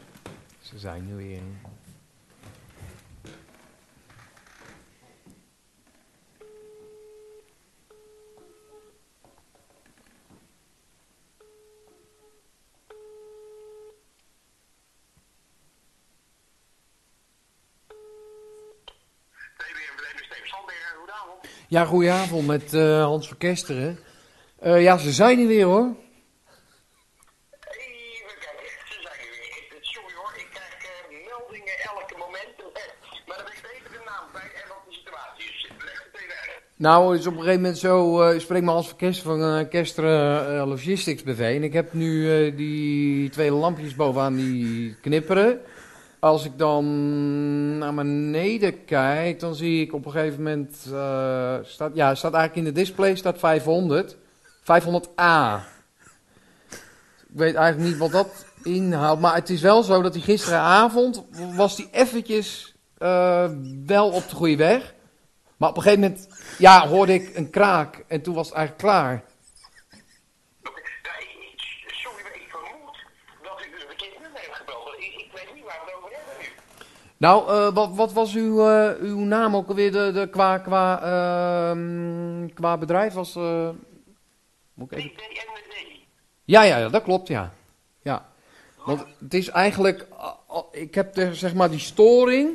D: Ze zijn er weer. Ja, goedenavond met eh, Hans van Kesteren. Eh, ja, ze zijn er weer hoor.
F: Even kijken, ze zijn er weer. Sorry hoor, ik krijg eh, meldingen elke moment. Maar dan weet ik even de naam bij en wat de situatie is. Leg het even uit.
D: Nou, het is op een gegeven moment zo, eh spreek me als van Kester van eh Kester eh, Logistics BV. En ik heb nu eh, die twee lampjes bovenaan die knipperen. Als ik dan naar beneden kijk, dan zie ik op een gegeven moment, eh, staat, ja, staat eigenlijk in de display staat 500. 500A. Ik weet eigenlijk niet wat dat inhoudt, maar het is wel zo dat die gisteravond was die eventjes eh, wel op de goede weg. Maar op een gegeven moment ja, hoorde ik een kraak en toen was het eigenlijk klaar.
F: Oké, nou, ik- ik- Sorry, maar ik vermoed dat ik een verkeerd nummer heb gebeld. Ik, ik weet niet waar we het over hebben nu.
D: Nou, eh, wat, wat was uw, eh, uw naam ook alweer de, de, qua, qua, ehm, qua bedrijf? Was, eh, moet ik even...
F: DDND.
D: ja, ja, ja, dat klopt, ja. ja. Want het is eigenlijk, ah, ah, ik heb de, zeg maar die storing.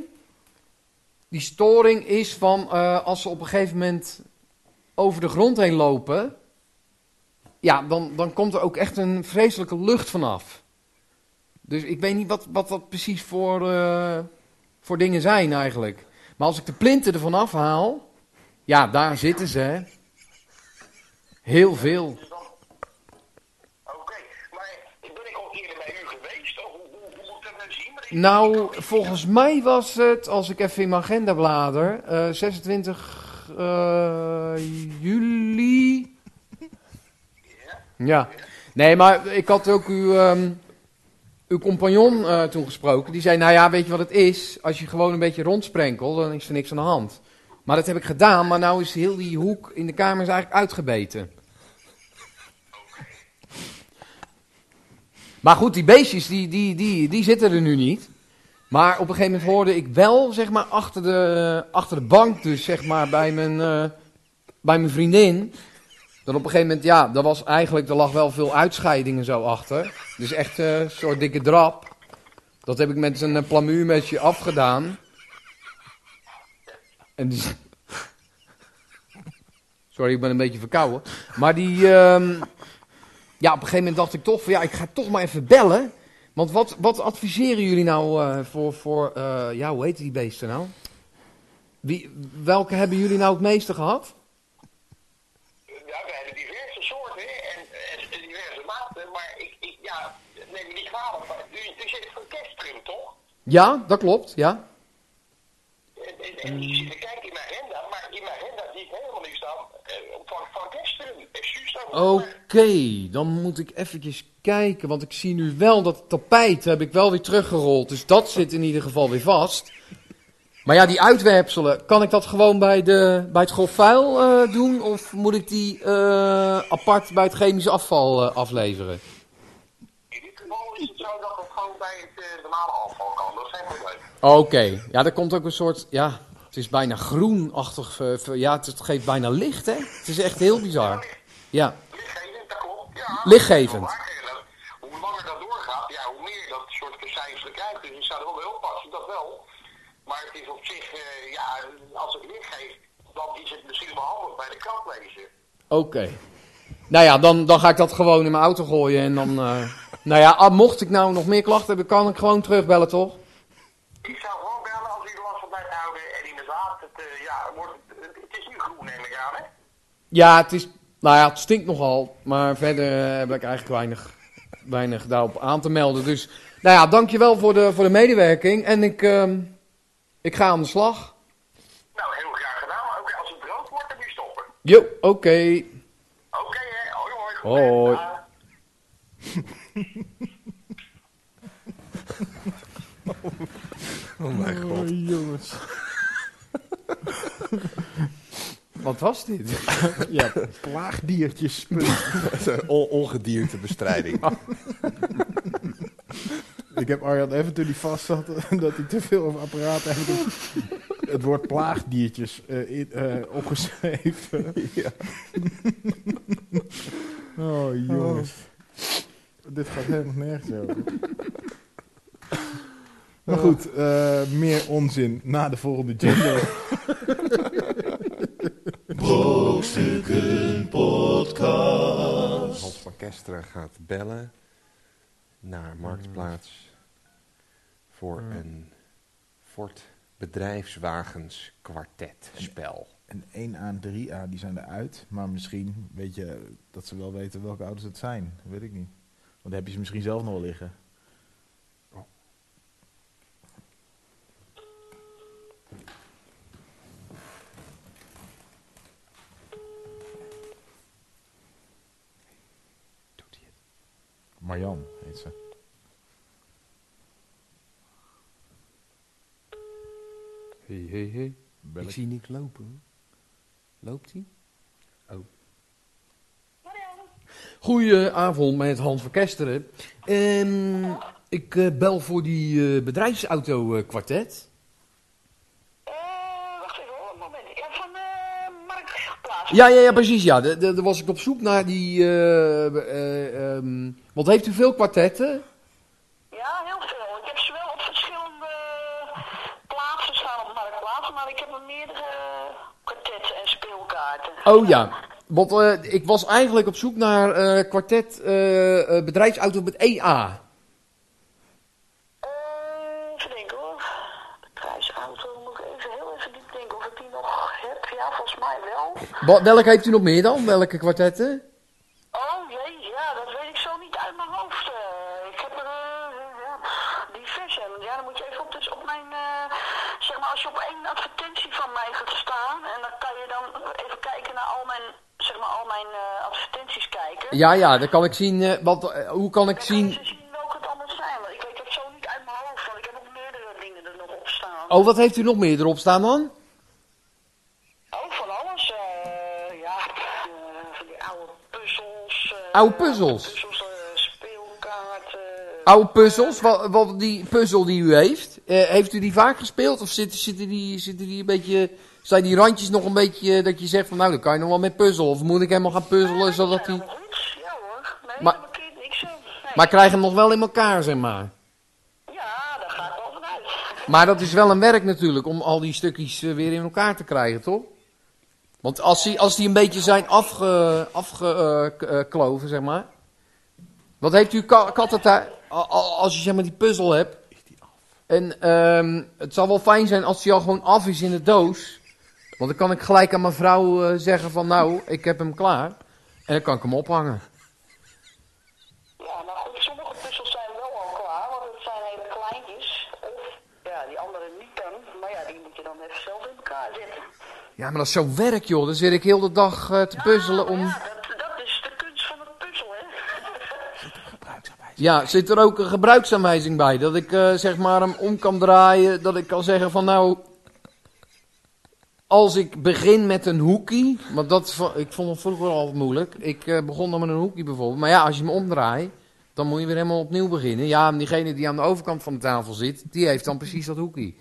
D: Die storing is van eh, als ze op een gegeven moment over de grond heen lopen. Ja, dan, dan komt er ook echt een vreselijke lucht vanaf. Dus ik weet niet wat, wat dat precies voor, eh, voor dingen zijn eigenlijk. Maar als ik de plinten ervan afhaal. Ja, daar zitten ze, hè. Heel veel.
F: Oké, maar ben ik al eerder bij u geweest? Of Hoe, hoe, hoe moet ik dat nou zien? Maar ik-
D: Nou, volgens mij was het, als ik even in mijn agenda blader, eh, 26 eh, juli. Ja. Nee, maar ik had ook uw, ehm, uw compagnon eh, toen gesproken. Die zei, nou ja, weet je wat het is? Als je gewoon een beetje rondsprenkelt, dan is er niks aan de hand. Maar dat heb ik gedaan, maar nou is heel die hoek in de kamer is eigenlijk uitgebeten. Maar goed, die beestjes, die, die, die, die zitten er nu niet. Maar op een gegeven moment hoorde ik wel, zeg maar, achter de, achter de bank dus, zeg maar, bij mijn, eh, bij mijn vriendin. Dat op een gegeven moment, ja, daar was eigenlijk, er lag wel veel uitscheidingen zo achter. Dus echt eh, een soort dikke drap. Dat heb ik met een eh, plamuurmesje afgedaan. En die... Sorry, ik ben een beetje verkouden. Maar die, ehm, ja, op een gegeven moment dacht ik toch van ja, ik ga toch maar even bellen. Want wat, wat adviseren jullie nou eh, voor, voor eh, ja, hoe heet die beesten nou? Wie, welke hebben jullie nou het meeste gehad?
F: Ja, we hebben diverse soorten en, en diverse maten, maar ik, ik ja, neem me niet kwalijk, maar u, u zit van Kesteren, toch?
D: Ja, dat klopt, ja.
F: En- en- en ik zit te kijken in mijn agenda, maar in mijn agenda zie ik helemaal niks staan eh, van, van gisteren. Excuus
D: Oké,
F: daarvoor.
D: dan moet ik eventjes kijken, want ik zie nu wel dat tapijt heb ik wel weer teruggerold. Dus dat zit in ieder geval weer vast. Maar ja, die uitwerpselen, kan ik dat gewoon bij, de, bij het grof vuil eh, doen? Of moet ik die eh, apart bij het chemisch afval eh, afleveren?
F: In dit geval is het zo dat het gewoon bij het eh, normale afval kan. Dat is geen probleem.
D: Oké, ja, er komt ook een soort, ja, het is bijna groenachtig, eh, ver- ja, het- het geeft bijna licht, hè? Het is echt heel bizar. Ja,
F: Lichtgevend, dat klopt. Ja,
D: Lichtgevend.
F: Dat is wel waar. Hoe langer dat doorgaat, ja, hoe meer dat soort verschijnselen krijgt. Dus je zou er wel mee oppassen, dat wel. Maar het is op zich, eh, ja, als het licht geeft, dan is het misschien wel handig bij de krantlezer.
D: oké. Nou ja, dan, dan ga ik dat gewoon in mijn auto gooien en dan, eh, nou ja, ah, mocht ik nou nog meer klachten hebben, kan ik gewoon terugbellen, toch?
F: Ik zou gewoon bellen als u er last van blijft houden. En inderdaad, het, eh, ja, wordt, het, het is nu groen, neem ik aan, hè?
D: Ja, het is, nou ja, het stinkt nogal, maar verder eh, heb ik eigenlijk weinig, weinig daarop aan te melden. Dus, nou ja, dankjewel voor de, voor de medewerking en ik, ehm, ik ga aan de slag.
F: Nou, heel graag gedaan. Maar ook als het rood wordt, dan moet je stoppen.
D: Jo, oké.
F: Oké, hè? Hoi, hoi.
D: Hoi.
F: Ah.
B: Oh mijn god.
C: jongens.
D: Wat was dit?
C: Ja, plaagdiertjes.
B: On- ongediertebestrijding.
C: Ik heb Arjan even toen hij vast zat dat hij te veel over apparaten heeft. Het woord plaagdiertjes eh, in- eh, opgeschreven. Oh jongens. Dit gaat helemaal nergens over. Maar goed, eh, meer onzin na de volgende jingle.
A: Brokstukken eh, podcast.
B: Hans van Kesteren gaat bellen naar Marktplaats voor een Ford bedrijfswagens kwartetspel.
C: En 1A en 3A die zijn eruit. Maar misschien weet je dat ze wel weten welke auto's het zijn. Dat weet ik niet. Want dan heb je ze misschien zelf nog wel liggen. Marjan heet ze.
D: Hey, hey, hey.
C: Bel
D: Ik
C: ik.
D: zie niks lopen. Loopt hij? Oh. Goedenavond met Hans van Kesteren. Ehm, ik eh, bel voor die eh bedrijfsauto-kwartet.
G: Eh, wacht even hoor, een moment. Ja, van eh Marktplaats.
D: ja, ja, ja, precies. Ja. Da- da- Daar was ik op zoek naar die... eh, eh, ehm, want heeft u veel kwartetten?
G: Ja, heel veel. Ik heb ze wel op verschillende plaatsen staan op Marktplaats, maar ik heb er meerdere kwartetten en speelkaarten.
D: Oh ja. Want eh, ik was eigenlijk op zoek naar eh kwartet eh, eh, bedrijfsauto met EA.
G: Eh, even denken hoor. Bedrijfsauto, moet ik even heel even diep denken of ik die nog heb. Ja, volgens mij wel.
D: Wa- welke heeft u nog meer dan? Welke kwartetten?
G: Oh jee, ja, dat weet ik zo niet uit mijn hoofd. eh. ik heb er eh, ja, diverse. En Ja, dan moet je even op, dus op mijn, eh, zeg maar, als je op één advertentie van mij gaat staan, en dan kan je dan even kijken naar al mijn, zeg maar, al mijn eh, advertenties kijken.
D: Ja, ja, dan kan ik zien. eh, want, eh, hoe kan ik
G: Dan kan je
D: zien.
G: ze zien welke het allemaal zijn. Want ik weet dat zo niet uit mijn hoofd, want ik heb ook meerdere dingen er nog op staan.
D: Oh, wat heeft u nog meer erop staan dan?
G: Oh, van alles. eh, ja, eh, van die oude puzzels. eh,
D: Oude puzzels?
G: Puzzels, eh, speelkaarten.
D: Oude puzzels, wat, wat die puzzel die u heeft. eh, heeft u die vaak gespeeld? Of zitten, zitten, die, zitten die een beetje. Zijn die randjes nog een beetje. eh, dat je zegt van nou, dan kan je nog wel met puzzel. Of moet ik helemaal gaan puzzelen zodat
G: hij.
D: die.
G: Ja hoor, nee,
D: Maar-
G: maar, daar markeert niks in. Nee.
D: Maar ik krijg hem nog wel in elkaar, zeg maar.
G: Ja, daar ga ik wel vanuit.
D: Maar dat is wel een werk natuurlijk, om al die stukjes eh, weer in elkaar te krijgen, toch? Want als die, als die een beetje zijn afgekloven, afge, eh, k- eh, kloven, zeg maar. Wat heeft u ka- kattentuin? a- a- Als je zeg maar die puzzel hebt. En ehm, het zal wel fijn zijn als die al gewoon af is in de doos. Want dan kan ik gelijk aan mijn vrouw eh, zeggen van nou, ik heb hem klaar. En dan kan ik hem ophangen.
G: Ja, nou goed, sommige puzzels zijn wel al klaar, want het zijn hele kleintjes. Of
D: Ja, maar dat is zo werk, joh. Dan zit ik heel de dag eh, te puzzelen om...
G: Nou, Ja, dat, dat is de kunst van het puzzel, hè?
D: Ja, zit er ook een gebruiksaanwijzing bij? Dat ik eh, zeg maar hem om kan draaien, dat ik kan zeggen van nou... Als ik begin met een hoekie, want dat, vo- ik vond het vroeger altijd moeilijk. Ik eh, begon dan met een hoekie bijvoorbeeld. Maar ja, als je hem omdraait, dan moet je weer helemaal opnieuw beginnen. Ja, en diegene die aan de overkant van de tafel zit, die heeft dan precies dat hoekie.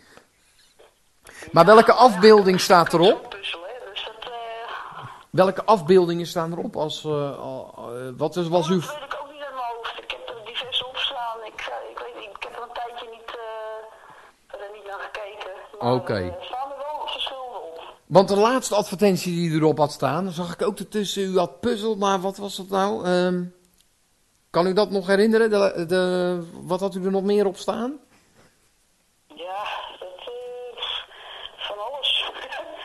D: Maar welke afbeelding staat erop?
G: Zo'n puzzel, hè? Dus dat, eh,
D: Welke afbeeldingen staan erop? Als, eh, al- eh, wat is, was uw...
G: dat weet ik ook niet uit mijn hoofd. Ik heb er diverse opslaan. Ik, eh, ik weet niet, ik heb er een tijdje niet, eh, er niet naar gekeken. Maar,
D: Oké.
G: eh, Er staan er wel verschillende op.
D: Want de laatste advertentie die erop had staan, zag ik ook ertussen. U had puzzel, maar wat was dat nou? Ehm, kan u dat nog herinneren? De, de, wat had u er nog meer op staan?
G: Ja, dat, eh, van alles.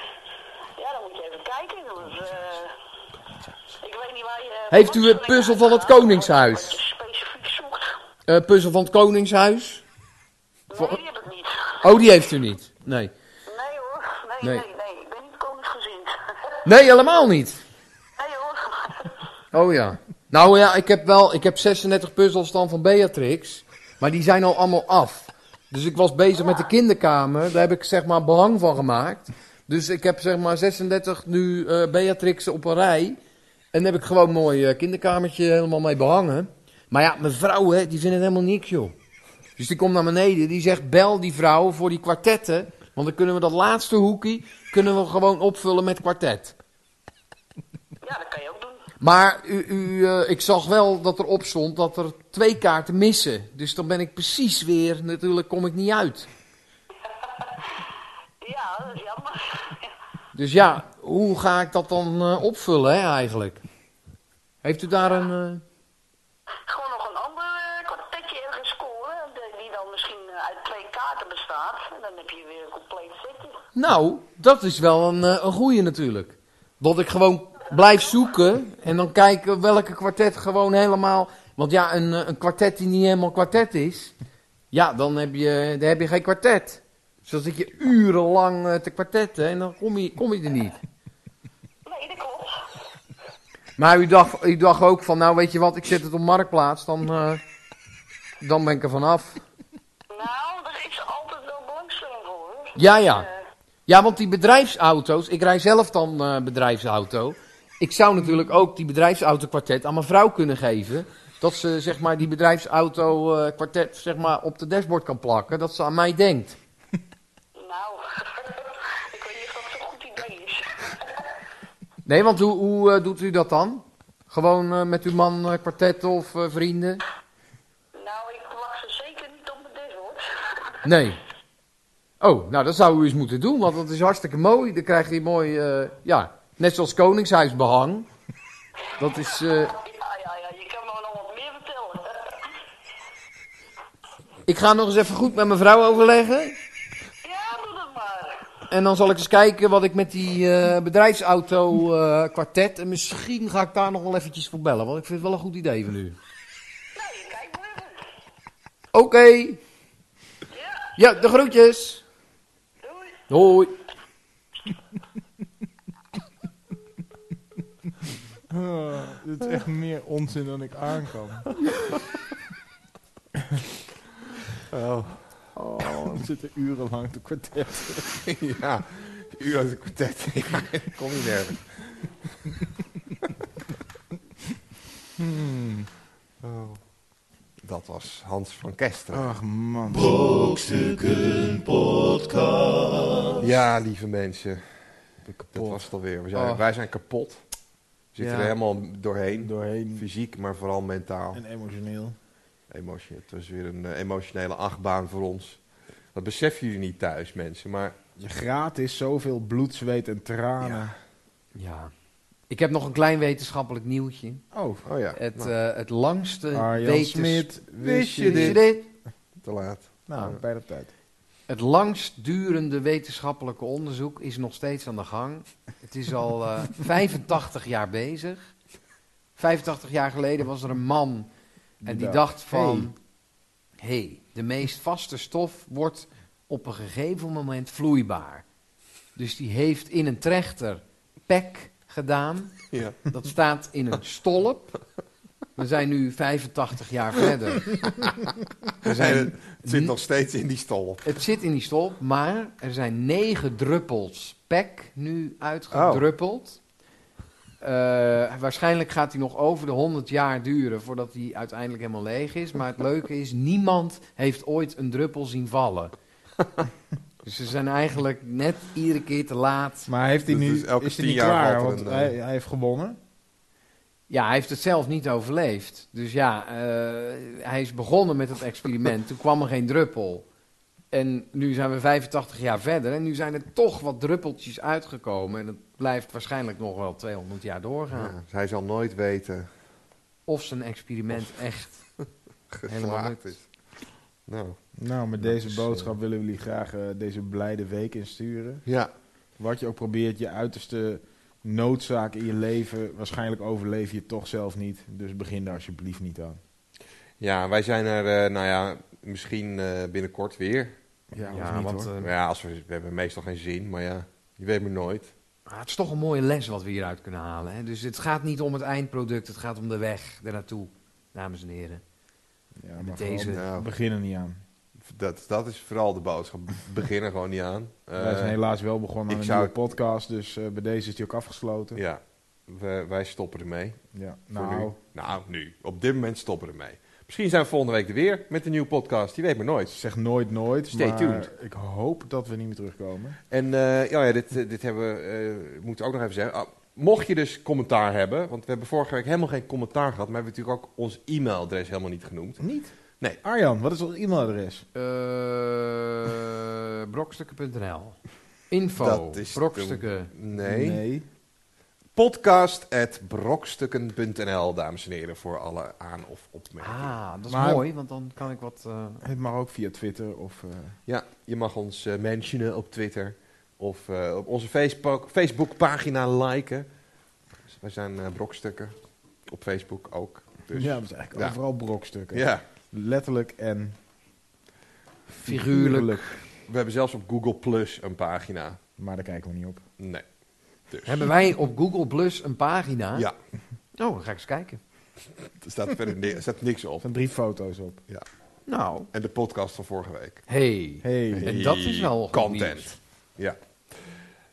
G: ja, dan moet je even kijken. want, eh, ik weet niet waar je... eh,
D: Heeft u het
G: belangstelling
D: puzzel van het
G: aan gaat,
D: Koningshuis?
G: Wat je specifiek zoekt.
D: Eh, puzzel van het Koningshuis?
G: Nee, die heb ik niet.
D: Oh, die heeft u niet. Nee.
G: Nee hoor, nee,
D: Nee.
G: nee, nee. Ik ben niet koningsgezind.
D: Nee, helemaal niet.
G: nee hoor.
D: Oh ja. Nou ja, ik heb wel ik heb 36 puzzels dan van Beatrix. Maar die zijn al allemaal af. Dus ik was bezig met de kinderkamer. Daar heb ik zeg maar behang van gemaakt. Dus ik heb zeg maar 36 nu eh Beatrix op een rij. En daar heb ik gewoon een mooi eh, kinderkamertje helemaal mee behangen. Maar ja, mijn vrouw, hè, die vindt het helemaal niks, joh. Dus die komt naar beneden, die zegt, bel die vrouw voor die kwartetten. Want dan kunnen we dat laatste hoekje, kunnen we gewoon opvullen met kwartet.
G: Ja, dat kan je ook doen.
D: Maar u, u, eh, ik zag wel dat erop stond dat er twee kaarten missen. Dus dan ben ik precies weer, natuurlijk kom ik niet uit.
G: Ja, dat is jammer.
D: Dus ja, hoe ga ik dat dan eh, opvullen hè, eigenlijk? Heeft u daar een... eh,
G: Gewoon nog een ander eh, kwartetje ergens scoren. de- Die dan misschien eh, uit twee kaarten bestaat. En dan heb je weer een compleet setje.
D: Nou, dat is wel een, eh, een goeie natuurlijk. Dat ik gewoon blijf zoeken en dan kijken welke kwartet gewoon helemaal... Want ja, een, eh, een kwartet die niet helemaal kwartet is... Ja, dan heb je, dan heb je geen kwartet. Dus dan zit je urenlang eh, te kwartetten en dan kom je, kom je er niet.
G: Nee, dat klopt.
D: Maar u dacht, u dacht ook van, nou weet je wat, ik zet het op Marktplaats, dan, eh, dan ben ik er vanaf.
G: Nou, er is altijd wel belangstelling voor. hoor.
D: Ja, ja.
G: Eh,
D: Ja, want die bedrijfsauto's, ik rij zelf dan eh, bedrijfsauto. Ik zou natuurlijk ook die bedrijfsauto-kwartet aan mijn vrouw kunnen geven. Dat ze zeg maar, die bedrijfsauto-kwartet zeg maar, op de dashboard kan plakken, dat ze aan mij denkt.
G: nou, ik weet niet of dat zo'n goed idee is.
D: Nee, want hoe, hoe eh, doet u dat dan? Gewoon eh, met uw man eh, kwartet of eh, vrienden?
G: Nou, ik wacht ze zeker niet op mijn dashboard.
D: Nee. Oh, nou dat zou u eens moeten doen, want dat is hartstikke mooi. Dan krijg je mooi, eh, ja, net zoals Koningshuisbehang. Dat is, eh,
G: Ja, ja, ja, je kan me nog wat meer vertellen.
D: ik ga nog eens even goed met mijn vrouw overleggen.
G: Ja, doe dat maar.
D: En dan zal ik eens kijken wat ik met die eh, bedrijfsauto eh, kwartet, en misschien ga ik daar nog wel eventjes voor bellen, want ik vind het wel een goed idee van u.
G: Nou, je kijkt maar even.
D: Oké. Ja, de groetjes.
G: Doei.
D: Hoi.
C: Ah, dit is echt meer onzin dan ik aankan. Oh, we zitten urenlang te kwartet.
B: ja, u uit het kwartet. Ja, ik kom niet nergens. Oh. Dat was Hans van Kesteren.
C: Ach man.
A: Brokstukken Podcast.
B: Ja, lieve mensen. Dat was het alweer. We zijn,
D: Oh.
B: Wij zijn kapot. We zitten
D: Ja.
B: er helemaal doorheen.
C: Doorheen
B: Fysiek, maar vooral mentaal.
C: en emotioneel.
B: Emotie. Het was weer een eh, emotionele achtbaan voor ons. Dat beseffen jullie niet thuis, mensen. Maar
C: Je gratis zoveel bloed, zweet en tranen.
D: Ja. Ik heb nog een klein wetenschappelijk nieuwtje.
C: Oh,
B: Oh ja,
D: Het,
B: nou,
D: eh, het langste
C: Arjan
D: wetens-
C: Smit,
B: wist
C: wist
B: dus. je
C: je
D: Wist je
C: dit?
D: dit?
B: te laat.
C: Nou, bijna op tijd.
D: Het langstdurende wetenschappelijke onderzoek is nog steeds aan de gang. Het is al eh, 85 jaar bezig. 85 jaar geleden was er een man en die dacht van... Hé, hey, de meest vaste stof wordt op een gegeven moment vloeibaar. Dus die heeft in een trechter pek gedaan.
B: Ja.
D: Dat staat in een stolp. We zijn nu 85 jaar verder.
B: We zijn, het zit nog steeds in die stal.
D: Het zit in die stolp, maar er zijn negen druppels pek nu uitgedruppeld. Eh, waarschijnlijk gaat hij nog over de 100 jaar duren voordat hij uiteindelijk helemaal leeg is. Maar het leuke is, niemand heeft ooit een druppel zien vallen. Dus ze zijn eigenlijk net iedere keer te laat.
C: Maar heeft hij
B: Dat
C: nu,
B: is
C: is,
B: elke
C: hij
B: tien
C: niet
B: jaar
C: klaar?
B: valt er
C: Want
B: een, eh,
C: hij, hij heeft gewonnen.
D: Ja, hij heeft het zelf niet overleefd. Dus ja, eh, hij is begonnen met het experiment. Toen kwam er geen druppel. En nu zijn we 85 jaar verder. En nu zijn er toch wat druppeltjes uitgekomen. En het blijft waarschijnlijk nog wel 200 jaar doorgaan.
B: Ja, zij zal nooit weten
D: Of zijn experiment echt.
B: geslaagd is. Nou,
C: Nou, met deze boodschap willen we jullie graag eh, deze blijde week insturen.
B: ja.
C: Wat je ook probeert, je uiterste noodzaak in je leven. Waarschijnlijk overleef je het toch zelf niet. Dus begin daar alsjeblieft niet aan.
B: ja, wij zijn er, eh, nou ja, misschien eh, binnenkort weer.
C: Ja,
D: Ja, want eh,
B: Maar ja, als we, we hebben meestal geen zin, maar ja, je weet maar nooit.
D: ah, het is toch een mooie les wat we hieruit kunnen halen. Hè? Dus het gaat niet om het eindproduct. Het gaat om de weg ernaartoe, dames en heren.
C: ja,
D: Met
C: maar
D: deze-
C: deze...
B: Nou,
C: begin er niet aan.
B: dat, dat is vooral de boodschap. Begin er gewoon niet aan.
C: Wij zijn
B: Eh,
C: helaas wel begonnen
B: ik
C: aan een
B: zou-
C: nieuwe podcast. Dus eh, bij deze is die ook afgesloten. Ja.
B: ja, we, wij stoppen ermee. Voor
C: Nou,
B: nu. nou, nu. Op dit moment stoppen we ermee. Misschien zijn we volgende week er weer met een nieuwe podcast. Je weet maar nooit.
C: zeg nooit nooit.
B: Stay
C: maar
B: tuned.
C: Ik hoop dat we niet meer terugkomen.
B: En eh, ja, ja, dit, eh, dit hebben we, eh, moeten we ook nog even zeggen. Ah, mocht je dus commentaar hebben, want we hebben vorige week helemaal geen commentaar gehad, maar we hebben natuurlijk ook ons e-mailadres helemaal niet genoemd.
C: Niet?
B: Nee.
C: Arjan, wat is ons e-mailadres?
D: Eh brokstukken.nl Info.
B: Dat is
D: brokstukken.
B: Nee.
C: nee.
B: Podcast.brokstukken.nl, dames en heren, voor alle aan- of opmerkingen.
D: Ah, dat is
C: Maar-
D: mooi, want dan kan ik wat. eh,
C: Het mag ook via Twitter of... eh,
B: Ja, je mag ons eh mentionen op Twitter of eh, op onze Facebook, Facebookpagina liken. Dus wij zijn eh, brokstukken op Facebook ook. Dus,
C: ja, dat is eigenlijk
B: ja.
C: overal brokstukken.
B: ja,
C: Letterlijk en
D: Figuurlijk.
B: we hebben zelfs op Google Plus een pagina.
C: Maar daar kijken we niet op.
B: Nee. Dus.
D: hebben wij op Google Plus een pagina?
B: Ja,
D: Oh, dan ga ik eens kijken.
B: er staat verder ni- er staat niks
C: Er
B: op.
C: staan drie foto's op.
D: Nou.
B: En de podcast van vorige week.
D: Hey.
C: Hey.
D: En dat is wel goed nieuws.
B: content. Ja.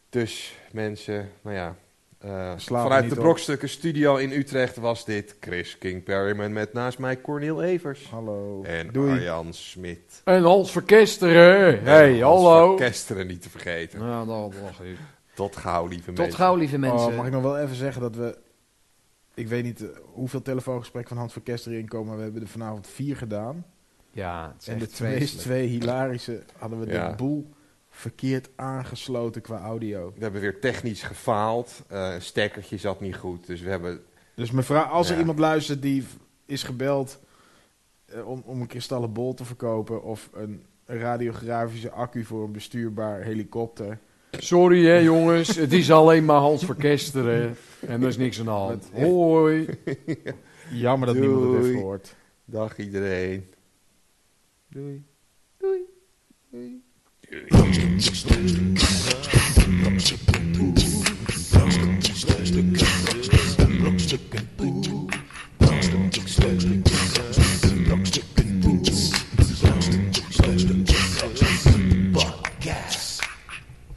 B: Dus mensen, nou ja. eh,
C: Slaap
B: vanuit
C: niet
B: de
C: op.
B: Brokstukken Studio in Utrecht was dit Chris King Perryman met naast mij Cornel Evers.
C: Hallo.
B: En
C: Doei.
B: Arjan Smit.
D: En Hans Verkesteren. Hey,
B: En Hans
D: hallo.
B: van Kesteren niet te vergeten.
D: Nou, dat was ik.
B: Tot gauw, lieve mensen.
D: Tot gauw, lieve mensen.
C: Oh, mag ik nog wel even zeggen dat we... Ik weet niet eh, hoeveel telefoongesprekken van Hans van Kester erin komen. Maar we hebben er vanavond vier gedaan.
D: Ja, het is
C: En
D: echt
C: de
D: vreselijk.
C: twee, twee hilarische hadden we
B: Ja.
C: de boel verkeerd aangesloten qua audio.
B: We hebben weer technisch gefaald. Eh, een stekkertje zat niet goed. Dus we hebben
C: Dus mevrouw, als er
B: Ja.
C: iemand luistert die v- is gebeld eh, om, om een kristallen bol te verkopen... of een radiografische accu voor een bestuurbaar helikopter...
D: Sorry hè jongens, het is alleen maar Hans Verkesteren. En er is niks aan de hand. Hoi.
C: Jammer dat niemand het heeft
B: Doei.
C: gehoord.
B: Dag iedereen.
C: Doei.